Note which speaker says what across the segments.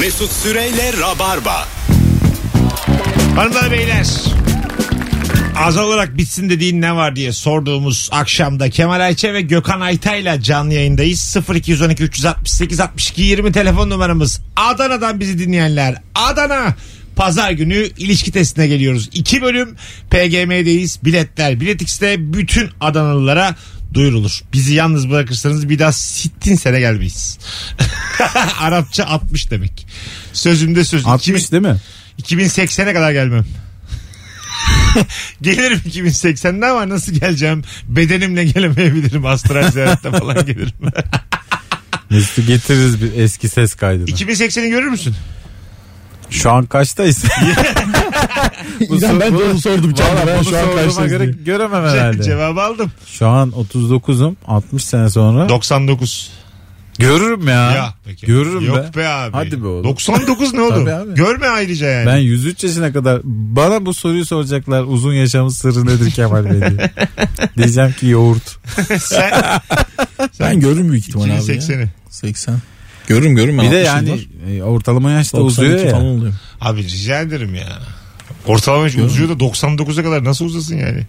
Speaker 1: Mesut Süreyle Rabarba.
Speaker 2: Hanımlar beyler. Az olarak bitsin dediğin ne var diye sorduğumuz akşamda Kemal Ayçe ve Gökhan Aytay'la canlı yayındayız. 0212 368 62 20 telefon numaramız. Adana'dan bizi dinleyenler. Adana Pazar günü ilişki testine geliyoruz. İki bölüm PGM'deyiz. Biletler Biletix'te bütün Adanalılara duyurulur. Bizi yalnız bırakırsanız bir daha sittin sene gelmeyiz. Arapça 60 demek. Sözümde söz.
Speaker 3: 60 değil mi?
Speaker 2: 2080'e kadar gelmem. gelirim 2080'de ama nasıl geleceğim? Bedenimle gelemeyebilirim. Astral ziyarette falan gelirim.
Speaker 3: Mesut'u getiririz bir eski ses kaydını.
Speaker 2: 2080'i görür müsün?
Speaker 3: Şu an kaçtayız? Bu
Speaker 4: İnan
Speaker 3: sor-
Speaker 4: ben de onu sordum. Canım,
Speaker 3: Valla
Speaker 4: ben
Speaker 3: bunu
Speaker 4: şu an Şey,
Speaker 3: sorduğuma
Speaker 4: karşınızdayım.
Speaker 3: göre göremem herhalde.
Speaker 2: Cevabı aldım.
Speaker 3: Şu an 39'um 60 sene sonra.
Speaker 2: 99.
Speaker 3: Görürüm ya.
Speaker 2: ya peki.
Speaker 3: Görürüm
Speaker 2: Yok
Speaker 3: be.
Speaker 2: be. abi.
Speaker 3: Hadi be oğlum.
Speaker 2: 99 ne
Speaker 3: Tabii
Speaker 2: oldu?
Speaker 3: abi.
Speaker 2: Görme ayrıca yani.
Speaker 3: Ben 103 yaşına kadar bana bu soruyu soracaklar uzun yaşamın sırrı nedir Kemal Bey diye. Diyeceğim ki yoğurt.
Speaker 2: Sen
Speaker 4: Ben görürüm büyük ihtimal abi. ya.
Speaker 2: 2080'i.
Speaker 4: 80. Görürüm görürüm. ben
Speaker 3: Bir de
Speaker 4: 60'ım
Speaker 3: yani
Speaker 4: var.
Speaker 3: e, ortalama yaşta
Speaker 4: 92
Speaker 3: uzuyor ya.
Speaker 4: falan oluyor.
Speaker 2: Abi rica ederim ya. Ortalama yaş uzuyor da 99'a kadar nasıl uzasın yani?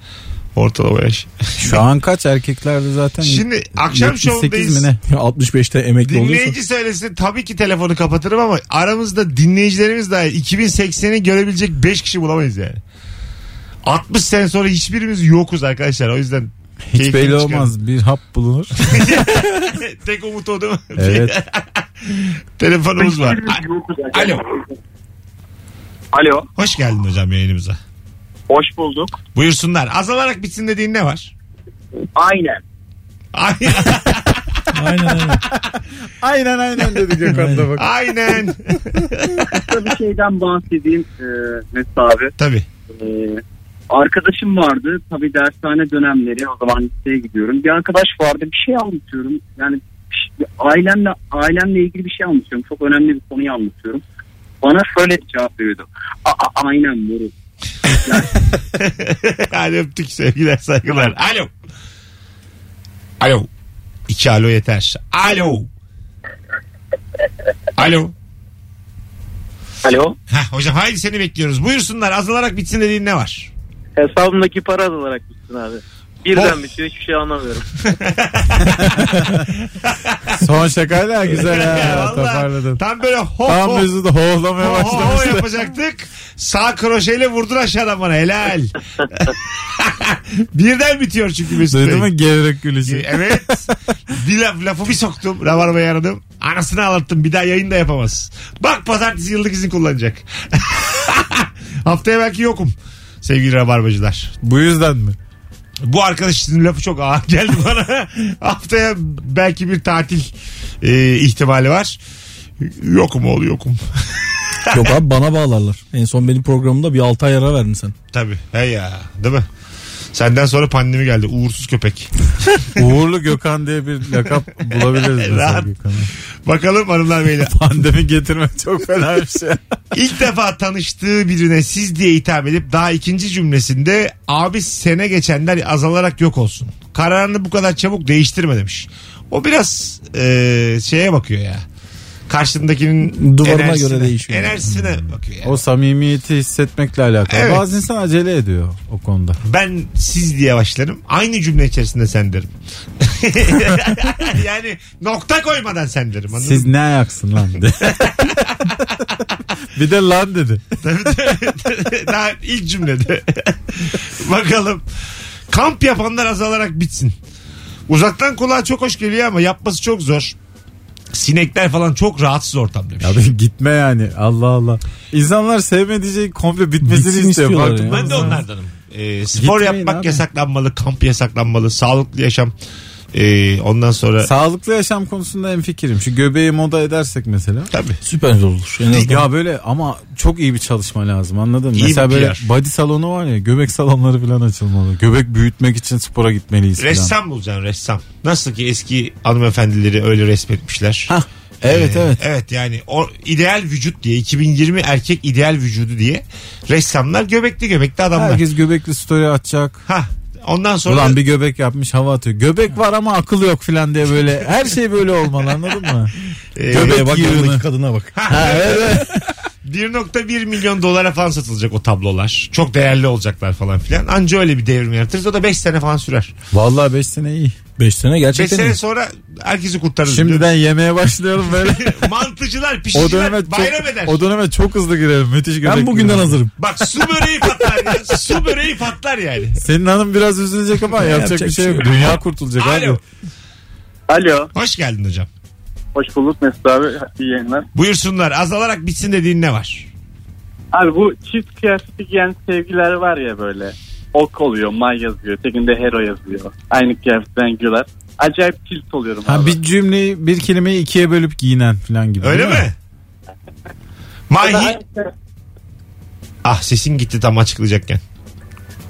Speaker 2: Ortalama yaş.
Speaker 3: Şu an kaç erkeklerde zaten?
Speaker 2: Şimdi akşam
Speaker 3: 78
Speaker 2: şovundayız.
Speaker 3: mi ne?
Speaker 4: 65'te emekli oluyorsun.
Speaker 2: Dinleyici söylesin tabii ki telefonu kapatırım ama aramızda dinleyicilerimiz dahil 2080'i görebilecek 5 kişi bulamayız yani. 60 sene sonra hiçbirimiz yokuz arkadaşlar. O yüzden
Speaker 3: Hiç
Speaker 2: keyfini
Speaker 3: belli
Speaker 2: çıkarın.
Speaker 3: olmaz. Bir hap bulunur.
Speaker 2: Tek umut o değil mi?
Speaker 3: Evet.
Speaker 2: Telefonumuz var. A- Alo.
Speaker 5: Alo.
Speaker 2: Hoş geldin hocam yayınımıza.
Speaker 5: Hoş bulduk.
Speaker 2: Buyursunlar. Azalarak bitsin dediğin ne var?
Speaker 5: Aynen.
Speaker 2: Ay-
Speaker 4: Aynen aynen.
Speaker 3: aynen aynen dedi Gökhan da bak.
Speaker 2: Aynen.
Speaker 5: Kısa bir şeyden bahsedeyim e, Mesut abi.
Speaker 2: Tabii.
Speaker 5: E, arkadaşım vardı. Tabii dershane dönemleri. O zaman liseye gidiyorum. Bir arkadaş vardı. Bir şey anlatıyorum. Yani bir- ailemle ailemle ilgili bir şey anlatıyorum. Çok önemli bir konuyu anlatıyorum. Bana şöyle cevap veriyordu. A, a- aynen moruk.
Speaker 2: Hadi öptük sevgiler saygılar. Alo. Alo. İki alo yeter. Alo. Alo.
Speaker 5: Alo.
Speaker 2: Heh, hocam haydi seni bekliyoruz. Buyursunlar azalarak bitsin dediğin ne var?
Speaker 5: Hesabımdaki para azalarak bitsin abi.
Speaker 2: Birden
Speaker 5: bitiyor. Hiçbir şey anlamıyorum.
Speaker 3: Son şakayla güzel
Speaker 2: Ya,
Speaker 3: ya.
Speaker 2: vallahi
Speaker 3: Toparladın.
Speaker 2: Tam böyle ho
Speaker 3: Tam
Speaker 2: ho,
Speaker 3: Mesut hohlamaya
Speaker 2: ho, ho, ho
Speaker 3: başlamıştı.
Speaker 2: yapacaktık. Sağ kroşeyle vurdun aşağıdan bana helal. Birden bitiyor çünkü Mesut Bey.
Speaker 3: Duydun mu gevrek gülüşü?
Speaker 2: Ee, Evet. Bir laf, lafı bir soktum. Rabarba'ya aradım. Anasını ağlattım. Bir daha yayın da yapamaz. Bak pazartesi yıllık izin kullanacak. Haftaya belki yokum. Sevgili Rabarbacılar.
Speaker 3: Bu yüzden mi?
Speaker 2: Bu arkadaşın lafı çok ağır geldi bana. Haftaya belki bir tatil e, ihtimali var. Yokum oğlu yokum.
Speaker 4: Yok abi bana bağlarlar. En son benim programımda bir 6 ay ara verdin sen.
Speaker 2: Tabii. He ya. Değil mi? Senden sonra pandemi geldi. Uğursuz köpek.
Speaker 3: Uğurlu Gökhan diye bir lakap bulabiliriz mesela
Speaker 2: Rahat.
Speaker 3: Gökhan'a.
Speaker 2: Bakalım hanımlar beyler.
Speaker 3: Pandemi getirmek çok fena bir şey.
Speaker 2: İlk defa tanıştığı birine siz diye hitap edip daha ikinci cümlesinde abi sene geçenler azalarak yok olsun. Kararını bu kadar çabuk değiştirme demiş. O biraz e, şeye bakıyor ya. Karşındakinin
Speaker 4: Duvarına
Speaker 2: enerjisine-
Speaker 4: göre değişiyor.
Speaker 2: Enerjisine bakıyor yani.
Speaker 3: O samimiyeti hissetmekle alakalı.
Speaker 2: Evet.
Speaker 3: Bazı insan acele ediyor o konuda.
Speaker 2: Ben siz diye başlarım. Aynı cümle içerisinde sen derim. yani nokta koymadan sen derim. anladın
Speaker 3: Siz ne ayaksın lan dedi. bir de lan dedi.
Speaker 2: Daha ilk cümlede. Bakalım. Kamp yapanlar azalarak bitsin. Uzaktan kulağa çok hoş geliyor ama yapması çok zor. Sinekler falan çok rahatsız ortam demiş.
Speaker 3: Ya bir şey gitme yani Allah Allah. İnsanlar sevmediği şey komple bitmesini
Speaker 4: Bitsin
Speaker 3: istiyor.
Speaker 4: istiyorlar
Speaker 3: Farkında
Speaker 4: ya.
Speaker 2: ben
Speaker 3: mısın?
Speaker 2: de onlardanım. Ee, spor
Speaker 3: Gitmeyin
Speaker 2: yapmak
Speaker 3: abi.
Speaker 2: yasaklanmalı, kamp yasaklanmalı, sağlıklı yaşam. Ee, ondan sonra
Speaker 3: Sağlıklı yaşam konusunda en fikrim. Şu göbeği moda edersek mesela.
Speaker 2: tabii.
Speaker 4: Süper olur. En azından.
Speaker 3: Ya böyle ama çok iyi bir çalışma lazım anladın mı?
Speaker 2: İyi
Speaker 3: Mesela
Speaker 2: bir
Speaker 3: böyle
Speaker 2: PR.
Speaker 3: body salonu var ya göbek salonları falan açılmalı. Göbek büyütmek için spora gitmeliyiz falan.
Speaker 2: Ressam bulacaksın ressam. Nasıl ki eski hanımefendileri öyle resmetmişler.
Speaker 4: Hah, evet
Speaker 2: Ee,
Speaker 4: evet.
Speaker 2: Evet yani o ideal vücut diye 2020 erkek ideal vücudu diye ressamlar göbekli göbekli adamlar.
Speaker 3: Herkes göbekli story atacak.
Speaker 2: Ha Ondan sonra
Speaker 3: Ulan bir göbek yapmış hava atıyor. Göbek var ama akıl yok filan diye böyle. Her şey böyle olmalı anladın mı?
Speaker 2: e,
Speaker 4: Göbeğe
Speaker 3: Göbek
Speaker 4: bak
Speaker 3: yığını.
Speaker 4: yanındaki kadına bak.
Speaker 3: Ha, evet.
Speaker 2: 1.1 milyon dolara falan satılacak o tablolar. Çok değerli olacaklar falan filan. Anca öyle bir devrim yaratırız. O da 5 sene falan sürer.
Speaker 3: Vallahi 5 sene iyi.
Speaker 4: 5 sene
Speaker 2: 5
Speaker 4: gerçekten
Speaker 2: sene
Speaker 4: iyi.
Speaker 2: sonra herkesi kurtarırız.
Speaker 3: Şimdiden yemeye başlıyorum böyle.
Speaker 2: Mantıcılar,
Speaker 3: O
Speaker 2: pişiciler
Speaker 3: döneme çok,
Speaker 2: bayram eder.
Speaker 3: o döneme çok hızlı girelim. Müthiş göbek.
Speaker 4: Ben bugünden
Speaker 3: yiyorum.
Speaker 4: hazırım.
Speaker 2: Bak su böreği patlar ya. Su böreği patlar yani.
Speaker 3: Senin hanım biraz üzülecek ama yapacak bir şey yok. Dünya kurtulacak abi.
Speaker 2: Alo.
Speaker 5: Alo.
Speaker 2: Hoş geldin hocam.
Speaker 5: Hoş bulduk Mesut abi. İyi yayınlar.
Speaker 2: Buyursunlar. Azalarak bitsin dediğin ne var?
Speaker 5: Abi bu çift kıyafeti giyen sevgiler var ya böyle. Ok oluyor, may yazıyor, tekinde hero yazıyor. Aynı kıyafetten giyiyorlar. Acayip tilt oluyorum
Speaker 3: Ha,
Speaker 5: abi.
Speaker 3: bir cümleyi bir kelimeyi ikiye bölüp giyinen falan gibi.
Speaker 2: Öyle
Speaker 3: değil
Speaker 2: mi?
Speaker 5: Ya da
Speaker 2: Mahi.
Speaker 5: aynı-
Speaker 2: Ah sesin gitti tam açıklayacakken.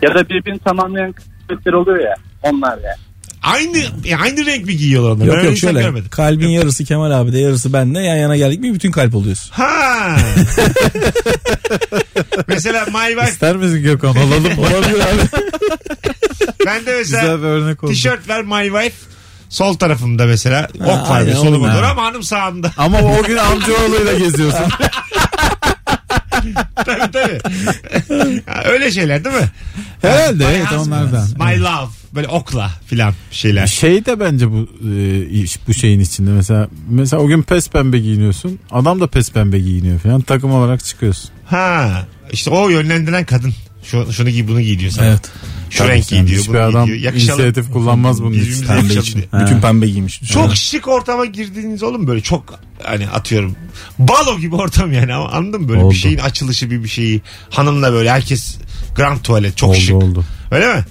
Speaker 5: Ya da birbirini tamamlayan kıyafetler oluyor ya. Onlar ya.
Speaker 2: Aynı e, aynı renk mi giyiyorlar onlar?
Speaker 4: Yok
Speaker 2: ben
Speaker 4: yok
Speaker 2: öyle şöyle.
Speaker 4: şöyle
Speaker 2: görmedim.
Speaker 4: kalbin yarısı Kemal abi de yarısı bende yan yana geldik mi bütün kalp oluyoruz.
Speaker 2: Ha. mesela My Wife
Speaker 3: İster misin Gökhan? Alalım. Olabilir abi.
Speaker 2: ben de
Speaker 3: Güzel
Speaker 2: mesela
Speaker 3: bir örnek oldu.
Speaker 2: tişört ver My Wife sol tarafımda mesela ok
Speaker 4: Ha,
Speaker 2: var bir
Speaker 4: aynen,
Speaker 2: soluma
Speaker 4: onun abi.
Speaker 2: doğru ama hanım sağımda.
Speaker 3: Ama o gün amcaoğluyla geziyorsun.
Speaker 2: tabii tabii. Öyle şeyler değil mi?
Speaker 3: Herhalde
Speaker 2: My
Speaker 3: evet
Speaker 2: husband,
Speaker 3: onlardan.
Speaker 2: My love böyle okla filan şeyler.
Speaker 3: Şey de bence bu e, iş- bu şeyin içinde mesela mesela o gün pes pembe giyiniyorsun. Adam da pes pembe giyiniyor falan. Takım olarak çıkıyorsun.
Speaker 2: Ha işte o yönlendiren kadın. Şu, şunu giy bunu giy diyor sana.
Speaker 4: Evet.
Speaker 2: Şu renk giy
Speaker 3: Yani
Speaker 2: diyor
Speaker 3: hiçbir
Speaker 2: bunu
Speaker 3: adam
Speaker 2: giy diyor. Yakışalım.
Speaker 3: inisiyatif kullanmaz bunun
Speaker 2: Birbirimize
Speaker 3: için.
Speaker 2: yakışalım
Speaker 4: Pembe
Speaker 2: diye.
Speaker 4: için. Bütün pembe giymiş.
Speaker 2: Çok şık ortama girdiğiniz oğlum böyle çok hani atıyorum balo gibi ortam yani ama anladın mı böyle
Speaker 3: Oldu.
Speaker 2: bir şeyin açılışı bir bir şeyi hanımla böyle herkes grand tuvalet çok şık
Speaker 3: Oldu oldu.
Speaker 2: öyle mi?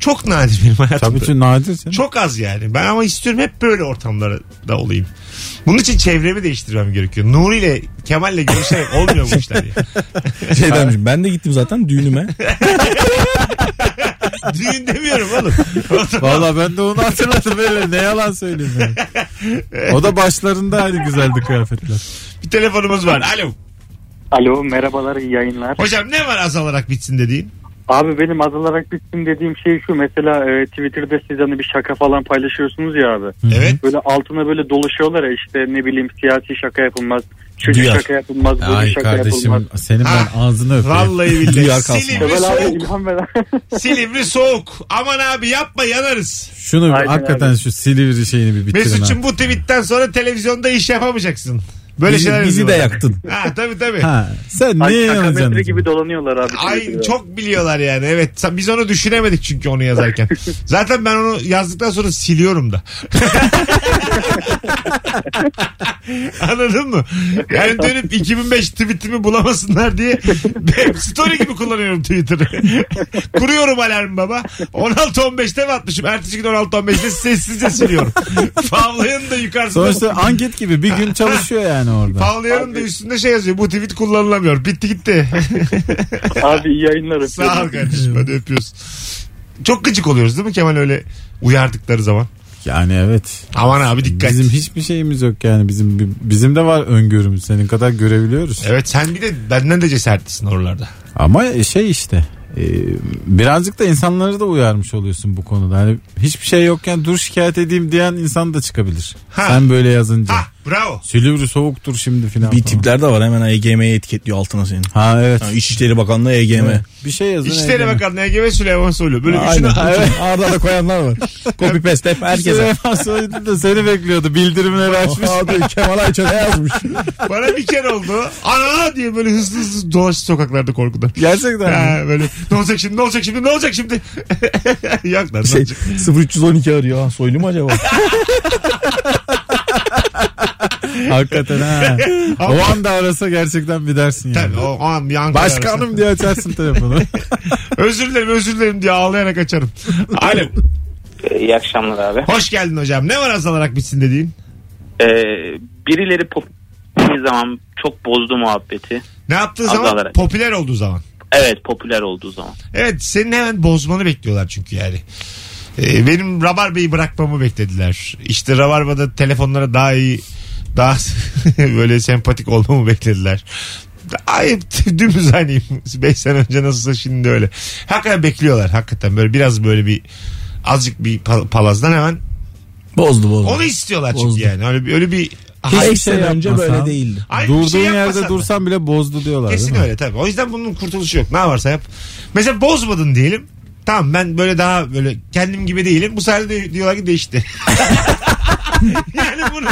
Speaker 2: Çok nadir benim hayatımda.
Speaker 3: Tabii ki nadir canım.
Speaker 2: Çok az yani ben ama istiyorum hep böyle ortamlarda olayım. Bunun için çevremi değiştirmem gerekiyor. Nuri ile Kemal ile görüşerek olmuyor bu işler. yani.
Speaker 4: şey demiş, ben de gittim zaten düğünüme.
Speaker 2: Düğün demiyorum oğlum.
Speaker 3: Valla ben de onu hatırladım öyle. Ne yalan söyleyeyim yani. O da başlarında aynı güzeldi kıyafetler.
Speaker 2: bir telefonumuz var. Alo.
Speaker 6: Alo merhabalar iyi yayınlar.
Speaker 2: Hocam ne var azalarak bitsin dediğin?
Speaker 6: Abi benim azalarak bitsin dediğim şey şu mesela e, Twitter'da siz hani bir şaka falan paylaşıyorsunuz ya abi.
Speaker 2: Evet.
Speaker 6: Böyle altına böyle dolaşıyorlar ya işte ne bileyim siyasi şaka yapılmaz. Çocuk
Speaker 4: Duyar.
Speaker 6: şaka yapılmaz. böyle
Speaker 3: Ay
Speaker 6: şaka yapılmaz.
Speaker 3: kardeşim senin
Speaker 2: Ha.
Speaker 3: ben ağzını öpeyim.
Speaker 2: Vallahi
Speaker 4: Duyar
Speaker 2: billahi.
Speaker 4: kalsın.
Speaker 2: Silivri
Speaker 6: Kemal abi
Speaker 2: soğuk.
Speaker 6: ilham veren.
Speaker 2: Silivri soğuk. Aman abi yapma yanarız.
Speaker 3: Şunu bir-
Speaker 6: Aynen
Speaker 3: hakikaten şu Silivri şeyini bir bitirin. ha.
Speaker 2: Mesut'cum bu tweetten sonra televizyonda iş yapamayacaksın. Böyle
Speaker 4: bizi,
Speaker 2: şeyler
Speaker 4: bizi de
Speaker 2: yazıyorlar.
Speaker 4: yaktın.
Speaker 2: Ha tabii tabii.
Speaker 3: Ha, sen
Speaker 6: Ay,
Speaker 3: niye
Speaker 6: şaka
Speaker 3: yanacaksın?
Speaker 6: metre gibi dolanıyorlar abi.
Speaker 2: Ay
Speaker 6: Twitter'da.
Speaker 2: çok biliyorlar yani evet Sa- biz onu düşünemedik çünkü onu yazarken. Zaten ben onu yazdıktan sonra siliyorum da. Anladın mı? Yani dönüp 2005 tweetimi bulamasınlar diye ben story gibi kullanıyorum Twitter'ı. Kuruyorum alarm baba. 16.15'te mi atmışım? Ertesi gün 16.15'te sessizce siliyorum. Favlayanın da yukarısında
Speaker 3: Sonuçta anket gibi bir gün çalışıyor yani orada.
Speaker 2: Favlayanın da üstünde şey yazıyor. Bu tweet kullanılamıyor. Bitti gitti.
Speaker 6: Abi iyi yayınlar.
Speaker 2: Sağ ol
Speaker 6: öpüyorum.
Speaker 2: kardeşim hadi öpüyoruz. Çok gıcık oluyoruz değil mi Kemal öyle uyardıkları zaman?
Speaker 3: Yani evet.
Speaker 2: Aman abi dikkat.
Speaker 3: Bizim hiçbir şeyimiz yok yani. Bizim bizim de var öngörümüz. Senin kadar görebiliyoruz.
Speaker 2: Evet sen bir de benden de cesaretlisin oralarda.
Speaker 3: Ama şey işte e, birazcık da insanları da uyarmış oluyorsun bu konuda. Hani hiçbir şey yokken dur şikayet edeyim diyen insan da çıkabilir.
Speaker 2: Ha.
Speaker 3: Sen böyle yazınca.
Speaker 2: Ha bravo.
Speaker 3: Silivri soğuktur şimdi filan.
Speaker 4: Bir
Speaker 3: falan.
Speaker 4: tipler de var hemen EGM'ye etiketliyor altına senin.
Speaker 3: Ha evet.
Speaker 4: Ha, İçişleri Bakanlığı E EGM.
Speaker 3: Evet. Bir şey yazın.
Speaker 2: İçişleri
Speaker 3: eyleme.
Speaker 2: Bakanı EGM Süleyman Soylu. Böyle
Speaker 4: Aynen.
Speaker 2: üçünü
Speaker 4: Evet. Arada da koyanlar var. Copy paste hep herkese.
Speaker 3: Süleyman Soylu da seni bekliyordu. Bildirimleri açmış.
Speaker 4: Abi Kemal Ayça ne yazmış?
Speaker 2: bana bir kere oldu. Ana diye böyle hızlı hızlı dolaştı sokaklarda korkudan.
Speaker 3: Gerçekten mi?
Speaker 2: Ha, böyle ne olacak şimdi ne olacak şimdi ne olacak şimdi. Yok lan ne
Speaker 4: Şey,
Speaker 2: olacak.
Speaker 4: 0312 arıyor. Ha, Soylu mu acaba?
Speaker 3: Hakikaten ha. o anda arasa gerçekten bir dersin yani.
Speaker 2: Tabii o, o an bir Ankara arası.
Speaker 3: Başkanım diye açarsın telefonu.
Speaker 2: Özür dilerim özür dilerim diye ağlayarak açarım. Alo.
Speaker 7: İyi akşamlar abi.
Speaker 2: Hoş geldin hocam. Ne var azalarak bitsin dediğin?
Speaker 7: Ee, birileri pop bir zaman çok bozdu muhabbeti.
Speaker 2: Ne yaptığı zaman
Speaker 7: Azalarak.
Speaker 2: popüler olduğu zaman.
Speaker 7: Evet popüler olduğu zaman.
Speaker 2: Evet senin hemen bozmanı bekliyorlar çünkü yani. Ee, benim Rabarba'yı bırakmamı beklediler. İşte Rabarba'da telefonlara daha iyi daha böyle sempatik olmamı beklediler. Ayıp dümdüz aynıyım. 5 sene önce nasılsa şimdi de öyle. Hakikaten bekliyorlar hakikaten böyle biraz böyle bir azıcık bir pal- palazdan hemen
Speaker 4: Bozdu bozdu.
Speaker 2: onu istiyorlar çünkü
Speaker 4: Bozdu.
Speaker 2: yani. Öyle bir, öyle bir
Speaker 4: Hiç
Speaker 2: Hayır,
Speaker 4: bir sene önce
Speaker 3: Şey yapmasan-
Speaker 4: böyle değildi.
Speaker 2: hayır bir
Speaker 3: Durduğun
Speaker 2: şey yapmasan
Speaker 3: yerde
Speaker 2: da.
Speaker 3: dursan bile bozdu diyorlar
Speaker 2: Kesin
Speaker 3: değil mi?
Speaker 2: öyle tabii. O yüzden bunun kurtuluşu yok. Ne varsa yap. Mesela bozmadın diyelim. Tamam ben böyle daha böyle kendim gibi değilim. Bu sefer de diyorlar ki değişti. yani bunun,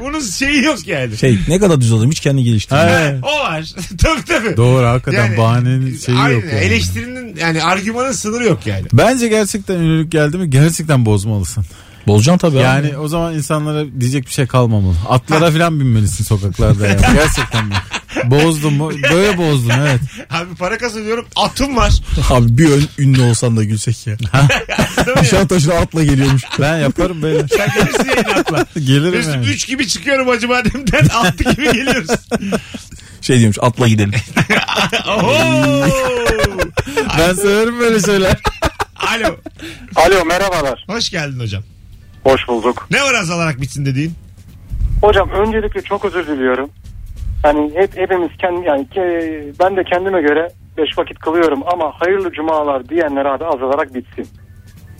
Speaker 2: bunun şeyi yok yani.
Speaker 4: Şey ne kadar düz olayım hiç kendi geliştirdim.
Speaker 3: Evet.
Speaker 2: O var. tabii tabii.
Speaker 3: Doğru hakikaten
Speaker 2: Yani-
Speaker 3: bahanenin şeyi
Speaker 2: Aynen.
Speaker 3: yok. yani.
Speaker 2: Eleştirinin yani argümanın sınırı yok yani.
Speaker 3: Bence gerçekten ünlülük geldi mi gerçekten bozmalısın.
Speaker 4: Bozacaksın tabii yani,
Speaker 3: Yani o zaman insanlara diyecek bir şey kalmamalı. Atlara falan binmelisin sokaklarda yani. Gerçekten bak. Bozdum. mu? Böyle bozdum evet.
Speaker 2: Abi para kazanıyorum atım var.
Speaker 4: abi. Abi bir ön, ünlü olsan da gülsek ya.
Speaker 2: Değil mi?
Speaker 4: Nişantaşı'na atla geliyormuş.
Speaker 3: Ben yaparım böyle.
Speaker 2: Sen gelirsin yayına atla.
Speaker 3: Gelirim
Speaker 2: Mesut'um
Speaker 3: yani.
Speaker 2: 3 gibi çıkıyorum Hacı Badem'den 6 gibi geliyoruz.
Speaker 4: Şey diyormuş atla gidelim.
Speaker 2: Oho!
Speaker 3: Ben severim böyle şeyler.
Speaker 2: Alo.
Speaker 6: Alo merhabalar.
Speaker 2: Hoş geldin hocam.
Speaker 6: Hoş bulduk.
Speaker 2: Ne var azalarak bitsin dediğin?
Speaker 6: Hocam öncelikle çok özür diliyorum. Hani hep hepimiz kendi yani ke- ben de kendime göre beş vakit kılıyorum ama hayırlı cumalar diyenler abi azalarak bitsin.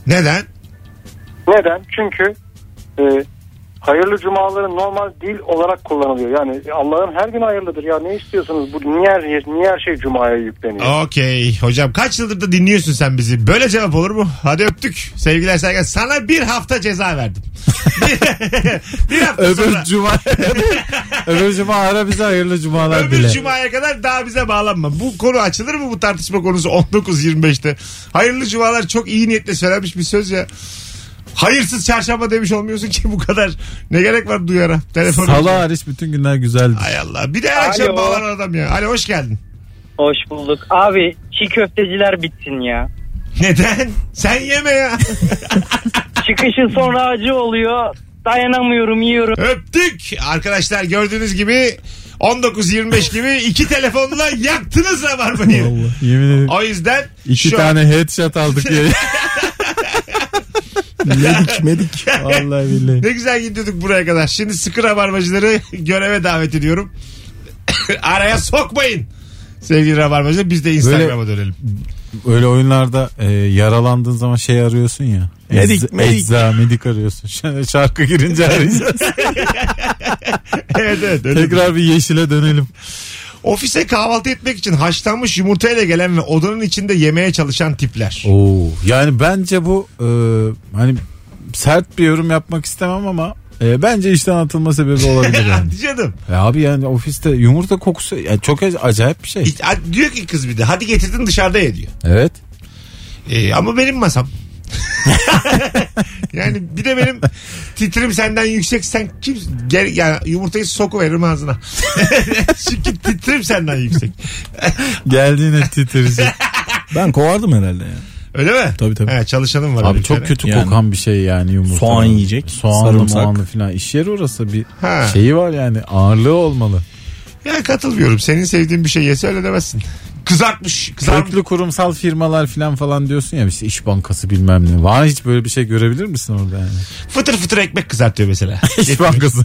Speaker 2: Neden?
Speaker 6: Neden? Çünkü e, hayırlı cumaların normal dil olarak kullanılıyor. Yani Allah'ın her gün hayırlıdır. Ya ne istiyorsunuz? Bu niye her, niye her şey cumaya yükleniyor?
Speaker 2: Okey. Hocam kaç yıldır da dinliyorsun sen bizi. Böyle cevap olur mu? Hadi öptük. Sevgiler saygılar. Sana bir hafta ceza verdim. bir hafta
Speaker 3: Öbür
Speaker 2: sonra.
Speaker 3: cuma. Öbür cuma ara bize hayırlı cumalar
Speaker 2: Öbür
Speaker 3: dile.
Speaker 2: cumaya kadar daha bize bağlanma. Bu konu açılır mı bu tartışma konusu 19-25'te? Hayırlı cumalar çok iyi niyetle söylenmiş bir söz ya. Hayırsız çarşamba demiş olmuyorsun ki bu kadar. Ne gerek var duyara? Telefonu.
Speaker 3: Salı hariç bütün günler güzeldi.
Speaker 2: Ay Allah. Bir de her
Speaker 8: Alo.
Speaker 2: akşam bağlanan adam ya. Alo hoş geldin.
Speaker 8: Hoş bulduk. Abi çiğ köfteciler bitsin ya.
Speaker 2: Neden? Sen yeme ya.
Speaker 8: Çıkışın sonra acı oluyor. Dayanamıyorum yiyorum.
Speaker 2: Öptük. Arkadaşlar gördüğünüz gibi 19-25 gibi iki telefonla yaktınız Rabarba'yı.
Speaker 3: Vallahi yemin ederim.
Speaker 2: O yüzden
Speaker 3: İki
Speaker 2: şu
Speaker 3: tane headshot aldık diye.
Speaker 4: medik medik.
Speaker 3: Vallahi billahi.
Speaker 2: ne güzel gidiyorduk buraya kadar. Şimdi sıkı Rabarbacıları göreve davet ediyorum. Araya sokmayın. Sevgili Rabarbacılar biz de Instagram'a dönelim.
Speaker 3: Öyle oyunlarda e, yaralandığın zaman şey arıyorsun ya.
Speaker 4: Medik,
Speaker 3: Ecz-
Speaker 4: medik.
Speaker 3: Ecza, medik arıyorsun. Şöyle Şarkı girince arayacağız.
Speaker 2: evet evet. öyle bir-
Speaker 3: Tekrar bir yeşile dönelim.
Speaker 2: Ofise kahvaltı etmek için haşlanmış yumurtayla gelen ve odanın içinde yemeye çalışan tipler.
Speaker 3: Oo, yani bence bu e, hani sert bir yorum yapmak istemem ama e, bence işten atılma sebebi olabilir yani.
Speaker 2: Hadi canım.
Speaker 3: E abi yani ofiste yumurta kokusu yani çok ac- acayip bir şey.
Speaker 2: İ- Diyor ki kız bir de hadi getirdin dışarıda ye diyor.
Speaker 3: Evet.
Speaker 2: Ee, ama benim masam. yani bir de benim titrim senden yüksek sen kim gel yani yumurtayı soku veririm ağzına. Çünkü titrim senden yüksek.
Speaker 3: Geldiğine titrecek.
Speaker 4: Ben kovardım herhalde ya.
Speaker 2: Öyle mi?
Speaker 4: Tabii, tabii.
Speaker 2: He, çalışanım var.
Speaker 3: abi
Speaker 2: bir
Speaker 3: çok
Speaker 2: tane.
Speaker 3: kötü
Speaker 4: Yani.
Speaker 3: kokan bir şey yani yumurta.
Speaker 4: Soğan yiyecek,
Speaker 3: Soğanlı
Speaker 4: sarımsak.
Speaker 3: muanlı falan. İş yeri orası bir
Speaker 2: Ha.
Speaker 3: şeyi var yani ağırlığı olmalı.
Speaker 2: Ya katılmıyorum. Senin sevdiğin bir şey yese öyle demezsin. Kızartmış. Kızarmış.
Speaker 3: Köklü kurumsal firmalar falan falan diyorsun ya işte iş bankası bilmem ne. Var hiç böyle bir şey görebilir misin orada yani?
Speaker 2: Fıtır fıtır ekmek kızartıyor mesela.
Speaker 3: İş bankası.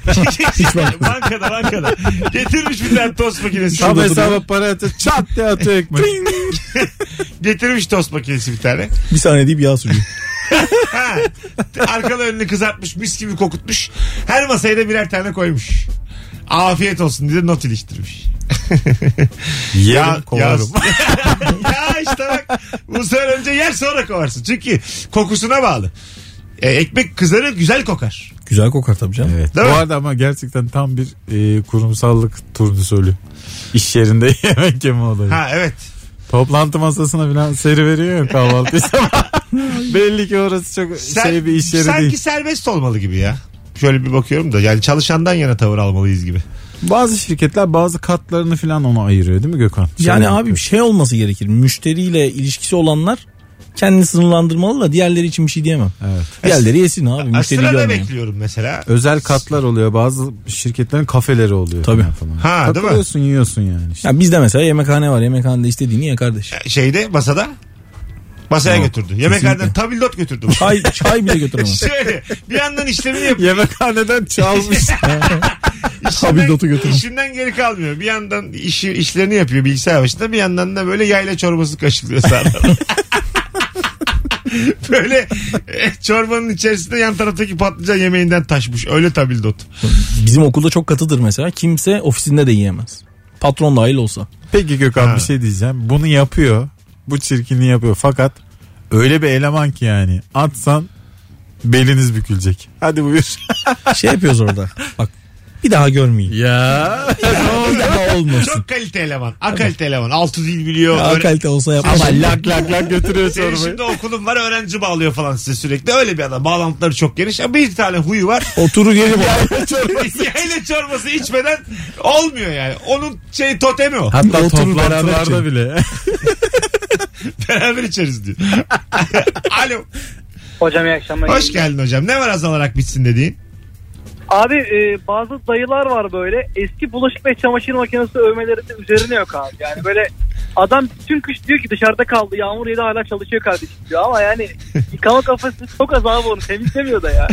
Speaker 2: bankada bankada. Getirmiş bir tane tost makinesi.
Speaker 3: Tam
Speaker 2: Şurada duruyor.
Speaker 3: hesaba para atıyor çat diye atıyor ekmek.
Speaker 2: Getirmiş tost makinesi bir tane.
Speaker 4: Bir saniye deyip yağ sürüyor.
Speaker 2: Ha, arkalı önünü kızartmış mis gibi kokutmuş. Her masaya da birer tane koymuş. Afiyet olsun diye not iliştirmiş.
Speaker 3: Yerim
Speaker 2: ya,
Speaker 3: kovarım.
Speaker 2: ya işte bak bu sefer önce yer sonra kovarsın. Çünkü kokusuna bağlı. E, ekmek kızarı güzel kokar.
Speaker 4: Güzel kokar tabii canım.
Speaker 3: Evet.
Speaker 2: Değil
Speaker 3: Bu
Speaker 2: mi?
Speaker 3: arada ama gerçekten tam bir e, kurumsallık turnusölü. İş yerinde yemek yeme olayı.
Speaker 2: Ha evet.
Speaker 3: Toplantı masasına falan seri veriyor ya kahvaltıyı sabah. Belli ki orası çok
Speaker 2: Sen-
Speaker 3: şey bir iş yeri
Speaker 2: sanki
Speaker 3: değil.
Speaker 2: serbest olmalı gibi ya. Şöyle bir bakıyorum da yani çalışandan yana tavır almalıyız gibi.
Speaker 3: Bazı şirketler bazı katlarını falan ona ayırıyor değil mi Gökhan?
Speaker 4: Yani
Speaker 3: Şey-
Speaker 4: abi bir şey olması gerekir. Müşteriyle ilişkisi olanlar kendini sınırlandırmalı da diğerleri için bir şey diyemem.
Speaker 3: Evet.
Speaker 4: Diğerleri yesin abi.
Speaker 2: Ha,
Speaker 4: Müşteri
Speaker 2: Sırada
Speaker 4: görmeyin.
Speaker 2: bekliyorum mesela.
Speaker 3: Özel katlar oluyor. Bazı şirketlerin kafeleri oluyor.
Speaker 4: Tabii.
Speaker 3: falan Falan.
Speaker 2: Ha, değil mi?
Speaker 3: Takılıyorsun yiyorsun yani. işte.
Speaker 4: Ya bizde mesela yemekhane var. Yemekhanede istediğini ye kardeş.
Speaker 2: Şeyde masada. Masaya götürdü. Yemeklerden tabildot götürdü.
Speaker 4: Çay, çay bile götüremez.
Speaker 2: Şöyle bir yandan işlemini yapıyor.
Speaker 3: Yemekhaneden çalmış.
Speaker 9: Habidatı götürün.
Speaker 2: İşinden geri kalmıyor. Bir yandan işi, işlerini yapıyor bilgisayar başında. Bir yandan da böyle yayla çorbası kaşılıyor sağdan. böyle e, çorbanın içerisinde yan taraftaki patlıcan yemeğinden taşmış. Öyle tabildot.
Speaker 4: Bizim okulda çok katıdır mesela. Kimse ofisinde de yiyemez. Patron dahil olsa.
Speaker 3: Peki Gökhan
Speaker 2: Ha.
Speaker 3: bir şey diyeceğim. Bunu yapıyor. Bu çirkinliği yapıyor. Fakat öyle bir eleman ki yani. Atsan beliniz bükülecek. Hadi buyur.
Speaker 4: Şey yapıyoruz orada. Bak bir daha görmeyeyim.
Speaker 3: Ya.
Speaker 4: bir daha olmasın.
Speaker 2: Çok kalite eleman. A kalite eleman. Altı dil biliyor.
Speaker 4: Ya,
Speaker 2: öğren-
Speaker 4: kalite olsa yapmaz.
Speaker 3: Ama lak lak lak götürüyor
Speaker 2: Senin
Speaker 3: çorbayı.
Speaker 2: şimdi okulun var öğrenci bağlıyor falan size sürekli. Öyle bir adam. Bağlantıları çok geniş. Ama bir tane huyu var.
Speaker 4: Oturur yerim.
Speaker 2: Yayla çorbası içmeden olmuyor yani. Onun şey totemi o.
Speaker 3: Hatta
Speaker 4: Oturur beraber
Speaker 3: toplantılarda
Speaker 4: içelim.
Speaker 3: bile.
Speaker 2: Beraber içeriz diyor. Alo.
Speaker 8: Hocam iyi akşamlar.
Speaker 2: Hoş geldin hocam. Ne var az olarak bitsin dediğin?
Speaker 8: Abi e, bazı dayılar var böyle eski bulaşık ve çamaşır makinesi övmelerinde üzerine yok abi. Yani böyle adam bütün kış diyor ki dışarıda kaldı yağmur yedi hala çalışıyor kardeşim diyor. Ama yani yıkama kafası çok az abi onu temizlemiyor da ya.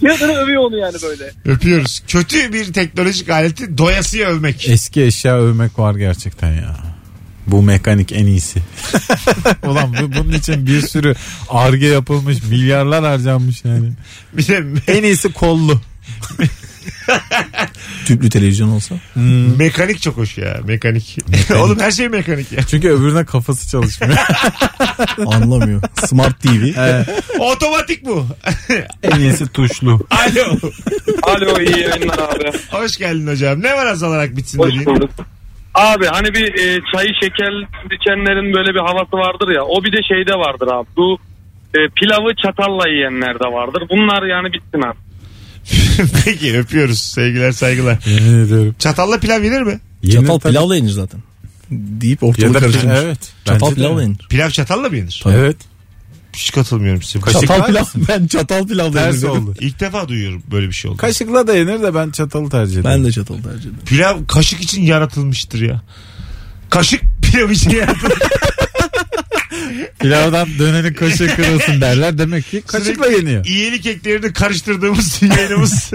Speaker 8: Fiyatını övüyor onu yani böyle.
Speaker 2: Öpüyoruz. Kötü bir teknolojik aleti doyasıya övmek.
Speaker 3: Eski eşya övmek var gerçekten ya. Bu mekanik en iyisi. Ulan bu, bunun için bir sürü arge yapılmış, milyarlar harcanmış yani.
Speaker 2: Bir de me-
Speaker 3: En iyisi kollu.
Speaker 4: Tüplü televizyon olsa.
Speaker 3: Hmm.
Speaker 2: mekanik çok hoş ya. Mekanik. Oğlum her şey mekanik ya.
Speaker 3: Çünkü öbürüne kafası çalışmıyor.
Speaker 4: Anlamıyor. Smart TV.
Speaker 2: Otomatik bu.
Speaker 3: en iyisi tuşlu.
Speaker 2: Alo.
Speaker 6: Alo iyi yayınlar abi.
Speaker 2: Hoş geldin hocam. Ne var az olarak bitsin
Speaker 6: Hoş
Speaker 2: dediğin?
Speaker 6: bulduk. Abi hani bir e, çayı şeker içenlerin böyle bir havası vardır ya. O bir de şeyde vardır abi. Bu e, pilavı çatalla yiyenler de vardır. Bunlar yani bitsin abi.
Speaker 2: Peki öpüyoruz. Sevgiler saygılar.
Speaker 3: Yemin ediyorum.
Speaker 2: Çatalla pilav yenir mi?
Speaker 4: Çatal pilavla yenir zaten. Deyip
Speaker 3: Ya
Speaker 4: ortalığı
Speaker 3: da
Speaker 4: karıştırmış.
Speaker 3: evet.
Speaker 4: Çatal
Speaker 3: Bence de.
Speaker 4: pilavla yenir.
Speaker 2: Pilav çatalla mı yenir?
Speaker 3: Evet.
Speaker 2: Hiç katılmıyorum size.
Speaker 3: Kaşık-
Speaker 4: Çatal
Speaker 3: var
Speaker 4: pilav. Ben çatal pilavla yenir.
Speaker 3: Ters
Speaker 4: dedim.
Speaker 3: oldu.
Speaker 2: İlk defa duyuyorum böyle bir şey oldu.
Speaker 3: Kaşıkla da yenir de ben çatalı tercih ederim.
Speaker 4: Ben de çatal tercih ederim.
Speaker 2: Pilav kaşık için yaratılmıştır ya. Kaşık pilav için yaratılmış.
Speaker 3: Pilavdan dönenin kaşığı kırılsın derler. Demek ki kaşıkla
Speaker 2: Sürekli
Speaker 3: yeniyor.
Speaker 2: İyilik eklerini karıştırdığımız yayınımız.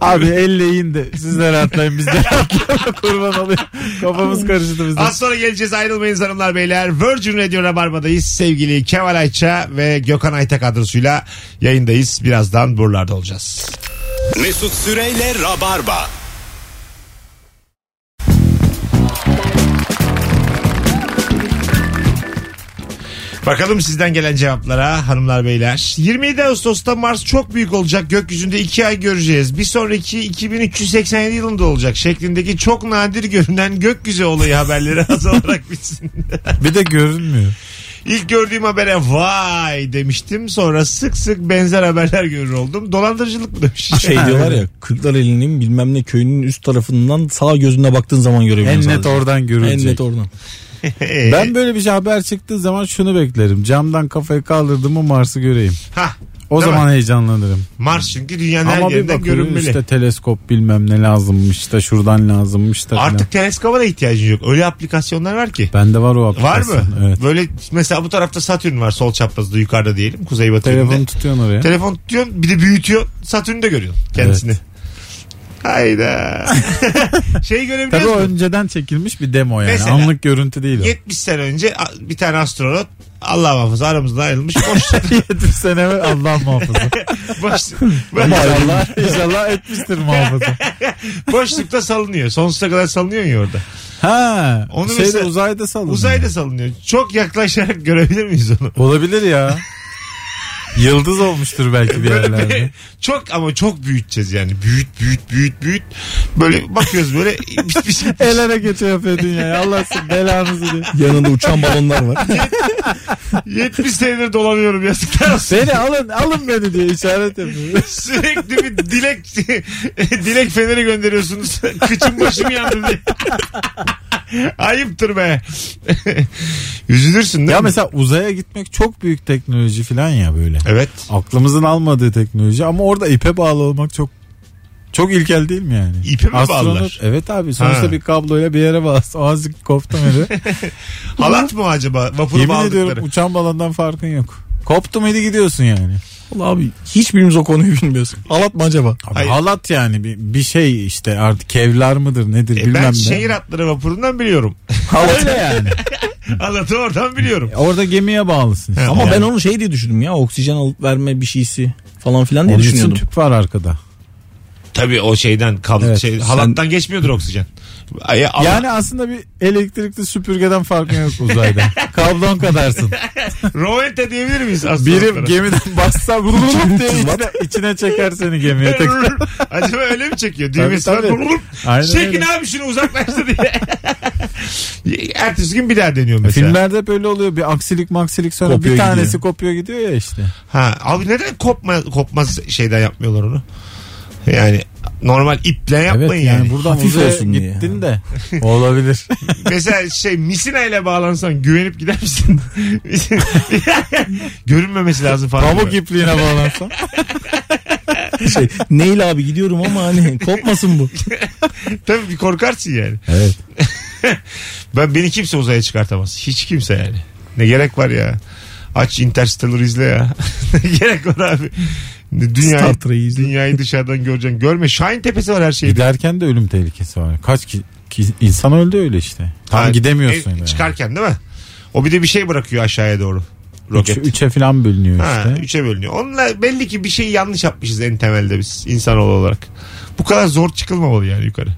Speaker 3: Abi elle yiyin de siz de rahatlayın biz de rahatlayalım. Kurban olayım. Kafamız karıştı bizim.
Speaker 2: Az sonra geleceğiz ayrılmayınız hanımlar beyler. Virgin Radio Rabarba'dayız. Sevgili Kemal Ayça ve Gökhan Ayta kadrosuyla yayındayız. Birazdan buralarda olacağız.
Speaker 1: Mesut Süreyle Rabarba.
Speaker 2: Bakalım sizden gelen cevaplara hanımlar beyler. 27 Ağustos'ta Mars çok büyük olacak. Gökyüzünde 2 ay göreceğiz. Bir sonraki 2387 yılında olacak şeklindeki çok nadir görünen gökyüzü olayı haberleri azalarak bitsin.
Speaker 3: Bir de görünmüyor.
Speaker 2: İlk gördüğüm habere vay demiştim. Sonra sık sık benzer haberler görür oldum. Dolandırıcılık mı demiş.
Speaker 4: Şey diyorlar ya Kırklareli'nin bilmem ne köyünün üst tarafından sağ gözüne baktığın zaman
Speaker 3: En
Speaker 4: görebiliyorsun
Speaker 3: net
Speaker 4: sadece.
Speaker 3: oradan
Speaker 4: En
Speaker 3: görülecek.
Speaker 4: net oradan.
Speaker 2: Ee,
Speaker 3: ben böyle bir şey haber çıktığı zaman şunu beklerim. Camdan kafayı kaldırdım mı Mars'ı göreyim.
Speaker 2: ha,
Speaker 3: O
Speaker 2: Değil
Speaker 3: zaman heyecanlanırım.
Speaker 2: Mars çünkü dünyanın
Speaker 3: Ama
Speaker 2: her
Speaker 3: bir
Speaker 2: yerinden
Speaker 3: bakıyorum
Speaker 2: görünmeli.
Speaker 3: işte teleskop bilmem ne lazımmış da şuradan lazımmış da. filan.
Speaker 2: Artık teleskoba da ihtiyacın yok. Öyle aplikasyonlar var ki.
Speaker 3: Bende var o
Speaker 2: Var
Speaker 3: aplikasyon.
Speaker 2: mı?
Speaker 3: Evet.
Speaker 2: Böyle mesela bu tarafta Satürn var sol çaprazda yukarıda diyelim kuzeybatı
Speaker 3: Telefonu
Speaker 2: yönünde.
Speaker 3: tutuyorsun oraya.
Speaker 2: Telefon tutuyorsun bir de büyütüyorsun Satürn'ü de görüyorsun kendisini.
Speaker 3: Evet.
Speaker 2: Hayda. şey
Speaker 3: Tabii
Speaker 2: görebiliyor
Speaker 3: o
Speaker 2: musun?
Speaker 3: önceden çekilmiş bir demo yani.
Speaker 2: Mesela-
Speaker 3: Anlık görüntü değil o.
Speaker 2: 70 sene önce a- bir tane astronot Allah muhafaza aramızdan ayrılmış. Boş,
Speaker 3: 70 sene evvel Allah muhafaza.
Speaker 2: boş,
Speaker 3: inşallah, inşallah etmiştir muhafaza.
Speaker 2: boşlukta salınıyor. Sonsuza kadar salınıyor ya orada.
Speaker 3: Ha,
Speaker 2: Onu
Speaker 3: şeyde
Speaker 2: mesela-
Speaker 3: uzayda salın.
Speaker 2: Uzayda salınıyor. Çok yaklaşarak görebilir miyiz onu?
Speaker 3: Olabilir ya. Yıldız olmuştur belki bir
Speaker 2: Böyle
Speaker 3: yerlerde.
Speaker 2: bir- çok ama çok büyüteceğiz yani. Büyüt büyüt büyüt büyüt. Böyle bakıyoruz böyle bir, bir şey-
Speaker 3: El ele geçiyor yapıyor dünyayı. Allah sizin belanızı diye.
Speaker 4: Yanında uçan balonlar var.
Speaker 2: 70 senedir dolanıyorum yazıklar olsun.
Speaker 3: Beni alın alın beni diye işaret yapıyor.
Speaker 2: Sürekli bir dilek dilek feneri gönderiyorsunuz. Kıçım başım yandı diye. Ayıptır be. Üzülürsün değil
Speaker 3: ya
Speaker 2: mi?
Speaker 3: mesela uzaya gitmek çok büyük teknoloji falan ya böyle.
Speaker 2: Evet.
Speaker 3: Aklımızın almadığı teknoloji ama orada ipe bağlı olmak çok çok ilkel değil mi yani?
Speaker 2: İpe mi bağlılar?
Speaker 3: Evet abi sonuçta
Speaker 2: Ha.
Speaker 3: bir kabloyla bir yere bağlısın. O azıcık koptu beni.
Speaker 2: Halat mı acaba? Vapuru
Speaker 3: Yemin
Speaker 2: bağladıkları.
Speaker 3: ediyorum uçan balondan farkın yok. Koptu muydu gidiyorsun yani.
Speaker 4: Vallahi abi hiçbirimiz o konuyu bilmiyoruz. Halat mı acaba?
Speaker 3: Abi
Speaker 2: Hayır.
Speaker 3: halat yani bir, bir şey işte artık kevlar mıdır nedir
Speaker 2: E,
Speaker 3: bilmem
Speaker 2: ben
Speaker 3: ne.
Speaker 2: şehir atları vapurundan biliyorum.
Speaker 3: Öyle yani.
Speaker 2: Anlatı oradan biliyorum.
Speaker 3: Orada gemiye bağlısın. işte.
Speaker 4: Ama
Speaker 3: Yani.
Speaker 4: ben onu şey diye düşündüm ya oksijen alıp verme bir şeysi falan filan diye
Speaker 3: Onun için
Speaker 4: düşünüyordum.
Speaker 3: tüp var arkada.
Speaker 2: Tabii o şeyden kal
Speaker 3: Evet,
Speaker 2: şey,
Speaker 3: sen-
Speaker 2: halattan geçmiyordur oksijen. Ay, ama-
Speaker 3: Yani aslında bir elektrikli süpürgeden farkın yok uzayda. Kablon kadarsın.
Speaker 2: Rovente diyebilir miyiz aslında?
Speaker 3: Biri gemiden bassa vurup diye içine, içine çeker seni gemiye. Tek-
Speaker 2: Acaba öyle mi çekiyor? Düğmesi
Speaker 3: Tabii,
Speaker 2: var.
Speaker 3: tabii. Aynen
Speaker 2: Çekin
Speaker 3: öyle.
Speaker 2: abi şunu uzaklaştı diye. Ertesi gün bir daha
Speaker 3: E,
Speaker 2: deniyorum mesela.
Speaker 3: Filmlerde hep öyle oluyor. Bir aksilik maksilik sonra
Speaker 4: Kopuyor
Speaker 3: bir tanesi
Speaker 4: gidiyor.
Speaker 3: kopuyor gidiyor ya işte.
Speaker 2: Ha, abi neden kopma, kopmaz şeyden yapmıyorlar onu? Yani normal iple yapmayın
Speaker 3: evet
Speaker 2: yani.
Speaker 3: yani, buradan
Speaker 4: Hafif
Speaker 3: uzaya
Speaker 4: olsun diye.
Speaker 3: gittin de olabilir.
Speaker 2: Mesela şey misina ile bağlansan güvenip gider misin? Görünmemesi lazım falan.
Speaker 3: Pamuk ipliğine bağlansan.
Speaker 4: Şey, neyle abi gidiyorum ama hani kopmasın bu.
Speaker 2: Tabii bir korkarsın yani.
Speaker 3: Evet.
Speaker 2: Ben beni kimse uzaya çıkartamaz. Hiç kimse yani. Ne gerek var ya. Aç Interstellar izle ya. ne gerek var abi. Ne Dünyayı,
Speaker 4: Star Trek'i izle.
Speaker 2: dünyayı dışarıdan göreceksin. Görme. Şahin tepesi var her şeyde.
Speaker 3: Giderken de ölüm tehlikesi var. Kaç ki, ki- insan öldü öyle işte. Tam
Speaker 2: Ha,
Speaker 3: gidemiyorsun.
Speaker 2: e,
Speaker 3: yani.
Speaker 2: Çıkarken değil mi? O bir de bir şey bırakıyor aşağıya doğru.
Speaker 3: Üç,
Speaker 2: Roket.
Speaker 3: üçe falan bölünüyor
Speaker 2: Ha,
Speaker 3: işte.
Speaker 2: üçe bölünüyor. Onunla belli ki bir şeyi yanlış yapmışız en temelde biz insanoğlu olarak. Bu kadar zor çıkılmamalı yani yukarı.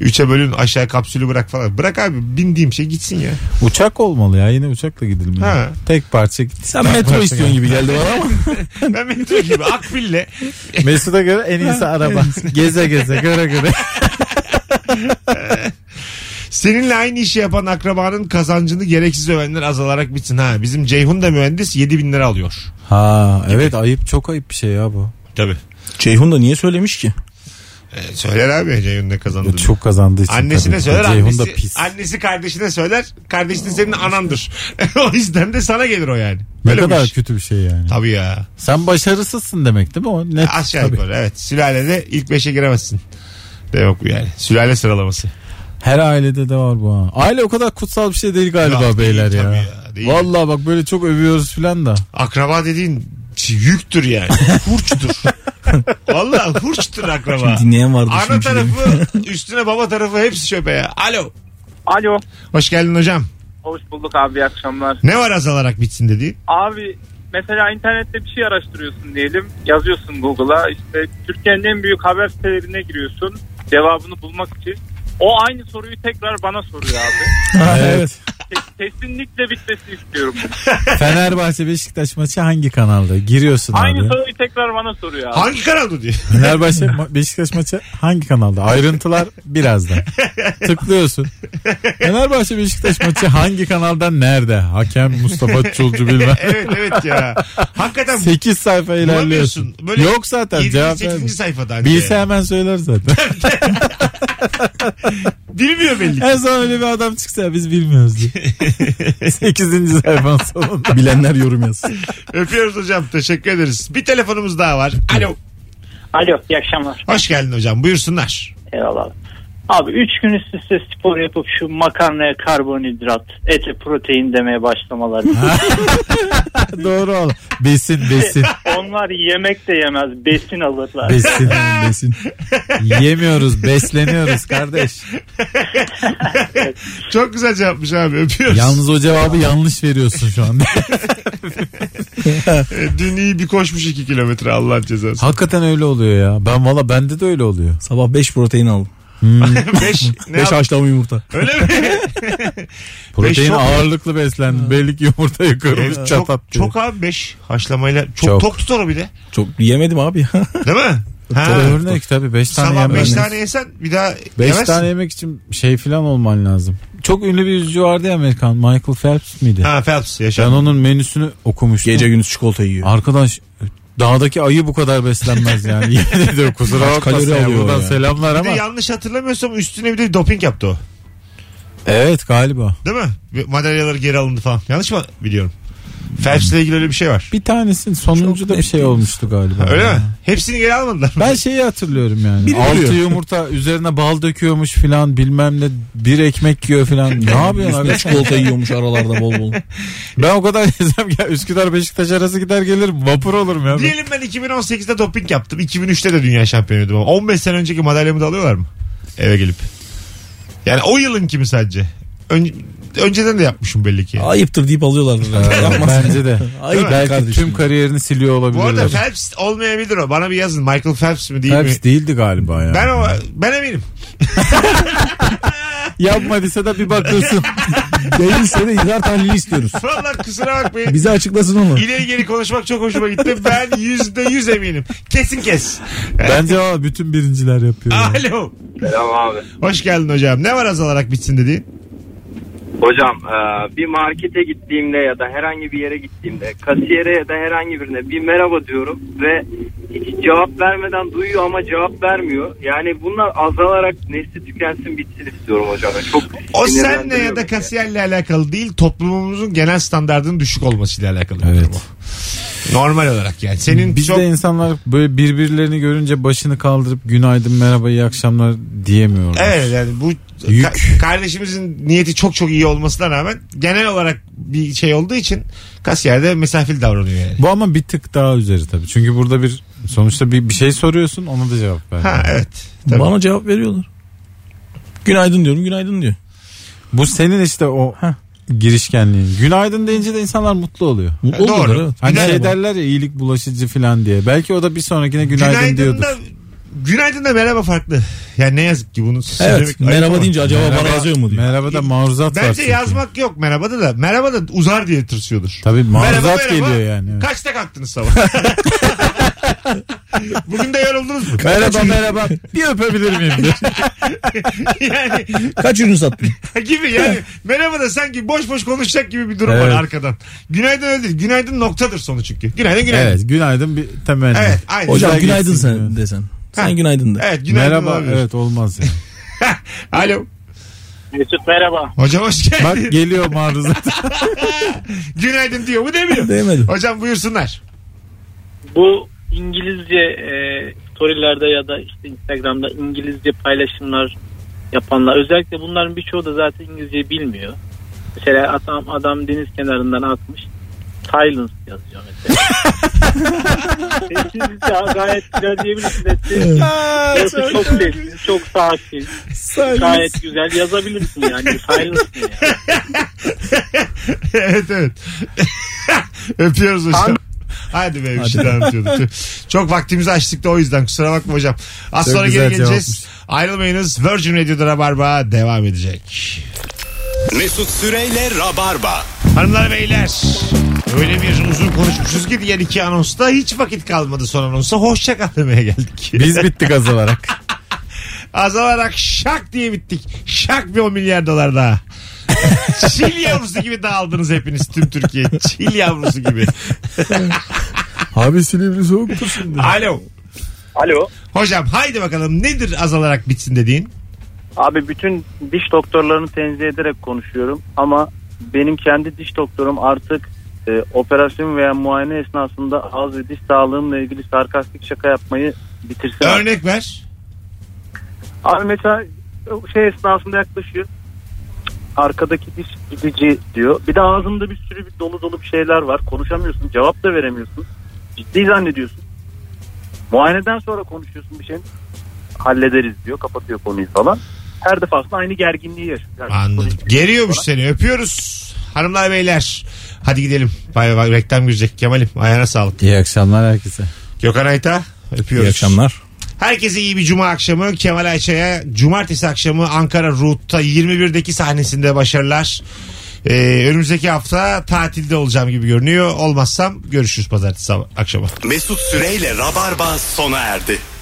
Speaker 2: Üçe bölün aşağı kapsülü bırak falan. Bırak abi bindiğim şey gitsin ya.
Speaker 3: Uçak olmalı ya. Yine uçakla gidilmeli.
Speaker 2: Ha.
Speaker 3: Tek parça git.
Speaker 4: Sen metro istiyorsun gibi geldi bana ama.
Speaker 2: Ben metro gibi akbille
Speaker 3: Mesut'a göre en iyisi araba. geze geze göre göre.
Speaker 2: Seninle aynı işi yapan akrabanın kazancını gereksiz övenler azalarak bitsin. Ha bizim Ceyhun da mühendis 7 bin lira alıyor.
Speaker 3: Ha evet ayıp çok ayıp bir şey ya bu.
Speaker 2: Tabii.
Speaker 4: Ceyhun da niye söylemiş ki?
Speaker 2: E, söyler abi Ceyhun ne kazandığını.
Speaker 3: Çok kazandığı için.
Speaker 2: Annesine
Speaker 3: tabii.
Speaker 2: söyler
Speaker 3: Ceyhun
Speaker 2: annesi,
Speaker 3: da pis.
Speaker 2: annesi kardeşine söyler. Kardeşin senin anandır. o yüzden de sana gelir o yani.
Speaker 3: ne
Speaker 2: Böyle bir
Speaker 3: kadar
Speaker 2: iş.
Speaker 3: kötü bir şey yani.
Speaker 2: Tabii ya.
Speaker 3: Sen başarısızsın demek değil mi o? Net.
Speaker 2: Aşağı
Speaker 3: tabii.
Speaker 2: yukarı evet. Sülalede ilk 5'e giremezsin. De yok bu yani. Sülale sıralaması.
Speaker 3: Her ailede de var bu ha. Aile o kadar kutsal bir şey değil galiba
Speaker 2: Yok, değil
Speaker 3: beyler ya.
Speaker 2: tabii ya, değil.
Speaker 3: Vallahi bak böyle çok övüyoruz filan da.
Speaker 2: Akraba dediğin şey yüktür yani. Hurçtur. Vallahi hurçtur akraba.
Speaker 4: Dinleyen vardı
Speaker 2: Ana tarafı üstüne baba tarafı hepsi şöpe ya. Alo.
Speaker 8: Alo.
Speaker 2: Hoş geldin hocam.
Speaker 8: Hoş bulduk abi iyi akşamlar.
Speaker 2: Ne var azalarak bitsin dediğin?
Speaker 8: Abi mesela internette bir şey araştırıyorsun diyelim. Yazıyorsun Google'a işte Türkiye'nin en büyük haber sitelerine giriyorsun. Cevabını bulmak için. O aynı soruyu tekrar bana soruyor abi.
Speaker 3: evet.
Speaker 8: Ke- Kesinlikle bitmesi istiyorum.
Speaker 3: Fenerbahçe Beşiktaş maçı hangi kanalda? Giriyorsun
Speaker 8: Aynı
Speaker 3: abi.
Speaker 8: soruyu tekrar bana soruyor abi.
Speaker 2: Hangi kanaldı diye.
Speaker 3: Fenerbahçe ma- Beşiktaş maçı hangi kanalda? Ayrıntılar birazdan. Tıklıyorsun. Fenerbahçe Beşiktaş maçı hangi kanaldan nerede? Hakem Mustafa Çulcu bilmem.
Speaker 2: evet evet ya. Hakikaten
Speaker 3: 8 sayfa ilerliyorsun.
Speaker 2: Bulamıyorsun. Böyle
Speaker 3: Yok zaten cevap
Speaker 2: 7.
Speaker 3: vermiyor.
Speaker 2: sayfada. hani. anca.
Speaker 3: Bilse hemen söyler zaten.
Speaker 2: Bilmiyor belli ki.
Speaker 3: en son öyle bir adam çıksa ya, biz bilmiyoruz diye. 8. sayfanın sonunda.
Speaker 4: Bilenler yorum yazsın.
Speaker 2: Öpüyoruz hocam. Teşekkür ederiz. Bir telefonumuz daha var. Alo.
Speaker 9: Alo iyi akşamlar.
Speaker 2: Hoş geldin hocam. Buyursunlar.
Speaker 9: Eyvallah. Abi 3 gün üst üste spor yapıp şu makarnaya karbonhidrat, ete protein demeye başlamaları.
Speaker 3: Doğru ol. Besin besin.
Speaker 9: Onlar yemek de yemez, besin alırlar.
Speaker 3: Besin besin. Yemiyoruz besleniyoruz kardeş.
Speaker 2: Çok güzel cevapmış abi. Öpüyoruz.
Speaker 3: Yalnız o cevabı yanlış veriyorsun şu anda.
Speaker 2: E, Dün iyi bir koşmuş 2 kilometre Allah cezası.
Speaker 3: Hakikaten öyle oluyor ya. Ben valla bende de öyle oluyor.
Speaker 4: Sabah 5 protein aldım.
Speaker 2: 5 ne
Speaker 4: 5
Speaker 2: yap-
Speaker 4: haşlama yumurta.
Speaker 2: Öyle mi? Beş
Speaker 3: Protein
Speaker 2: çok-
Speaker 3: ağırlıklı beslendim. Belli ki yumurtayı kırmış
Speaker 2: E,
Speaker 3: çatat
Speaker 2: çok,
Speaker 3: diye.
Speaker 2: çok abi 5 haşlamayla. Çok,
Speaker 3: Çok.
Speaker 2: tok tutar o bir de.
Speaker 4: Çok yemedim abi.
Speaker 2: Değil mi? Ha.
Speaker 3: Tabii örnek tabii 5 tane
Speaker 2: Sabah
Speaker 3: yemek.
Speaker 2: 5 tane yesen bir daha
Speaker 3: 5
Speaker 2: yemezsin.
Speaker 3: tane yemek için şey filan olman lazım. Çok ünlü bir yüzücü vardı ya Amerikan Michael Phelps miydi?
Speaker 2: Ha Phelps
Speaker 3: Ben
Speaker 2: yaşa.
Speaker 3: onun menüsünü okumuştum.
Speaker 4: Gece gündüz çikolata yiyor.
Speaker 3: Arkadaş dağdaki ayı bu kadar beslenmez yani. Yemin ediyorum kusura
Speaker 4: Kaç kalori
Speaker 3: bakmasın ya
Speaker 4: alıyor
Speaker 3: buradan
Speaker 4: ya?
Speaker 3: selamlar
Speaker 2: Bir de
Speaker 3: ama.
Speaker 2: yanlış hatırlamıyorsam üstüne bir de doping yaptı o.
Speaker 3: Evet galiba.
Speaker 2: Değil mi? Madalyaları geri alındı falan. Yanlış mı biliyorum? Felçle ilgili öyle bir şey var.
Speaker 8: Bir tanesinin sonuncu
Speaker 3: Çok
Speaker 8: da bir şey
Speaker 3: net
Speaker 8: olmuştu galiba.
Speaker 2: Öyle
Speaker 8: Ya.
Speaker 2: mi? Hepsini geri almadılar mı?
Speaker 8: Ben şeyi hatırlıyorum yani.
Speaker 3: Biri
Speaker 8: Altı
Speaker 3: vuruyor.
Speaker 8: yumurta üzerine bal döküyormuş filan bilmem ne bir ekmek yiyor filan. Ne yapıyorsun abi?
Speaker 3: Üstüne çikolata yiyormuş aralarda bol bol.
Speaker 8: Ben o kadar gezem ki Üsküdar Beşiktaş arası gider gelir vapur olurum ya.
Speaker 2: Diyelim ben 2018'de doping yaptım. 2003'te de dünya şampiyonuydum. ama 15 sene önceki madalyamı da alıyorlar mı? Eve gelip. Yani o yılın kimi sadece. Ön- önceden de yapmışım belli ki.
Speaker 3: Ayıptır deyip alıyorlar.
Speaker 8: Ya,
Speaker 3: Yapmaz.
Speaker 8: Bence de.
Speaker 3: Ayıp
Speaker 8: Belki
Speaker 3: kardeşim.
Speaker 8: tüm kariyerini siliyor
Speaker 2: Bu arada
Speaker 8: olabilirler.
Speaker 2: Phelps olmayabilir o. Bana bir yazın. Michael Phelps mi değil mi?
Speaker 8: Phelps değildi galiba ya.
Speaker 2: Ben o, ben eminim.
Speaker 8: Yapmadıysa da bir bakıyorsun.
Speaker 3: Değilse de idrar tahlili istiyoruz.
Speaker 2: Vallahi kusura bakmayın.
Speaker 3: Bize açıklasın onu.
Speaker 2: İleri geri konuşmak çok hoşuma gitti. Ben yüzde yüz eminim. Kesin kes.
Speaker 8: Bence o bütün birinciler yapıyor. ya.
Speaker 2: Alo.
Speaker 5: Selam abi.
Speaker 2: Hoş geldin hocam. Ne var azalarak bitsin dediğin?
Speaker 5: Hocam e, bir markete gittiğimde ya da herhangi bir yere gittiğimde kasiyere ya da herhangi birine bir merhaba diyorum ve hiç cevap vermeden duyuyor ama cevap vermiyor. Yani bunlar azalarak nesli tükensin bitsin istiyorum hocam. Çok
Speaker 2: O senle
Speaker 5: sinirlendiriyor
Speaker 2: ya da
Speaker 5: beni.
Speaker 2: kasiyerle alakalı değil toplumumuzun genel standartının düşük olmasıyla alakalı. bir
Speaker 8: Evet.
Speaker 2: durum o. Normal olarak yani. Senin
Speaker 8: Biz
Speaker 2: çok...
Speaker 8: de insanlar böyle birbirlerini görünce başını kaldırıp günaydın merhaba iyi akşamlar diyemiyorlar.
Speaker 2: Evet yani bu
Speaker 8: Yük.
Speaker 2: ka- kardeşimizin niyeti çok çok iyi olmasına rağmen genel olarak bir şey olduğu için kasiyerde mesafeli davranıyor yani.
Speaker 8: Bu ama bir tık daha üzeri tabii. Çünkü burada bir sonuçta bir, bir şey soruyorsun ona da cevap ver.
Speaker 2: Ha evet. Tabii.
Speaker 3: Bana cevap veriyorlar. Günaydın diyorum günaydın diyor.
Speaker 8: Bu senin işte o girişkenliğin. Günaydın deyince de insanlar mutlu oluyor.
Speaker 3: Mutlu
Speaker 2: Doğru.
Speaker 3: olurlar, evet.
Speaker 8: Hani
Speaker 3: Günaydın.
Speaker 8: şey derler ya iyilik bulaşıcı falan diye. Belki o da bir sonrakine günaydın,
Speaker 2: Günaydın
Speaker 8: diyordur.
Speaker 2: da, günaydın da merhaba farklı. Yani ne yazık ki bunu
Speaker 3: Evet
Speaker 2: söylemek-
Speaker 3: merhaba
Speaker 2: Ayıp
Speaker 3: deyince
Speaker 2: ama.
Speaker 3: acaba bana yazıyor mu diyor.
Speaker 8: Merhaba da maruzat var.
Speaker 2: Bence
Speaker 8: çünkü.
Speaker 2: yazmak yok merhabada da. Merhaba da uzar diye tırsıyordur.
Speaker 8: Tabii maruzat
Speaker 2: Merhaba, merhaba.
Speaker 8: geliyor yani. evet.
Speaker 2: Kaçta kalktınız sabah? Bugün de yoruldunuz mu?
Speaker 8: Merhaba merhaba bir öpebilir miyim diye.
Speaker 2: yani
Speaker 3: Kaç ürün sattın?
Speaker 2: gibi yani merhaba da sanki boş boş konuşacak gibi bir durum var
Speaker 8: Evet.
Speaker 2: arkadan. Günaydın öyle değil. Günaydın noktadır sonu çünkü. Günaydın günaydın. Evet.
Speaker 8: evet günaydın bir temenni.
Speaker 2: aynen.
Speaker 3: Hocam
Speaker 8: Güzel
Speaker 3: günaydın
Speaker 8: geçsin
Speaker 3: sen
Speaker 8: diyor.
Speaker 3: desen.
Speaker 2: Ha.
Speaker 3: Sen günaydın de.
Speaker 2: Evet günaydın
Speaker 8: Merhaba
Speaker 2: olabilir.
Speaker 8: evet olmaz. yani.
Speaker 2: Alo.
Speaker 10: Mesut merhaba.
Speaker 2: Hocam hoş geldin.
Speaker 8: Bak geliyor maruzat.
Speaker 2: Günaydın diyor mu demiyor.
Speaker 3: Demedim.
Speaker 2: Hocam buyursunlar.
Speaker 10: Bu İngilizce e, storylerde ya da işte Instagram'da İngilizce paylaşımlar yapanlar özellikle bunların birçoğu da zaten İngilizce bilmiyor. Mesela adam, adam deniz kenarından atmış. Silence yazıyor mesela. Sessizlikle gayet güzel diyebilirsiniz. Sessiz. Orası çok sessiz, çok sakin. Gayet güzel yazabilirsin yani. Silence ne ya?
Speaker 2: evet evet. Öpüyoruz hocam. Hadi be bir şey daha anlatıyorduk. Tüh. Çok vaktimizi açtık da o yüzden kusura bakma hocam. Az
Speaker 8: Çok
Speaker 2: sonra
Speaker 8: güzel
Speaker 2: geri geleceğiz. Ayrılmayınız. Virgin Radio'da Rabarba devam edecek.
Speaker 4: Mesut Süreyle Rabarba.
Speaker 2: Hanımlar beyler öyle bir uzun konuşmuşuz ki diğer iki anonsta hiç vakit kalmadı son anonsa. Hoşça kal demeye geldik.
Speaker 8: Biz bittik az olarak.
Speaker 2: Az olarak şak diye bittik. Şak bir o milyar dolar daha. Çil yavrusu gibi dağıldınız hepiniz tüm Türkiye. Çil yavrusu gibi.
Speaker 8: Abi Silivri soğuktur şimdi.
Speaker 2: Alo.
Speaker 5: Alo.
Speaker 2: Hocam haydi bakalım nedir azalarak bitsin dediğin?
Speaker 5: Abi bütün diş doktorlarını tenzih ederek konuşuyorum ama benim kendi diş doktorum artık e, operasyon veya muayene esnasında ağız ve diş sağlığımla ilgili sarkastik şaka yapmayı bitirsin.
Speaker 2: Örnek ver.
Speaker 5: Abi mesela şey esnasında yaklaşıyor. Arkadaki diş gidici diyor. Bir de ağzımda bir sürü bir dolu dolu bir şeyler var. Konuşamıyorsun, cevap da veremiyorsun. Ciddi zannediyorsun. Muayeneden sonra konuşuyorsun bir şey. Hallederiz diyor. Kapatıyor konuyu falan. Her defasında aynı gerginliği yaşıyor. Yani
Speaker 2: Anladım.
Speaker 5: psikolojik-
Speaker 2: Geliyormuş seni öpüyoruz. Hanımlar beyler hadi gidelim. Bay bay reklam girecek Kemal'im ayağına sağlık.
Speaker 8: İyi akşamlar herkese.
Speaker 2: Gökhan Ayta öpüyoruz.
Speaker 3: İyi akşamlar.
Speaker 2: Herkese iyi bir cuma akşamı. Kemal Ayça'ya cumartesi akşamı Ankara Root'ta 21'deki sahnesinde başarılar. Ee, önümüzdeki hafta tatilde olacağım gibi görünüyor. Olmazsam görüşürüz pazartesi sabah- akşamı.
Speaker 4: Mesut Süreyle Rabarba sona erdi.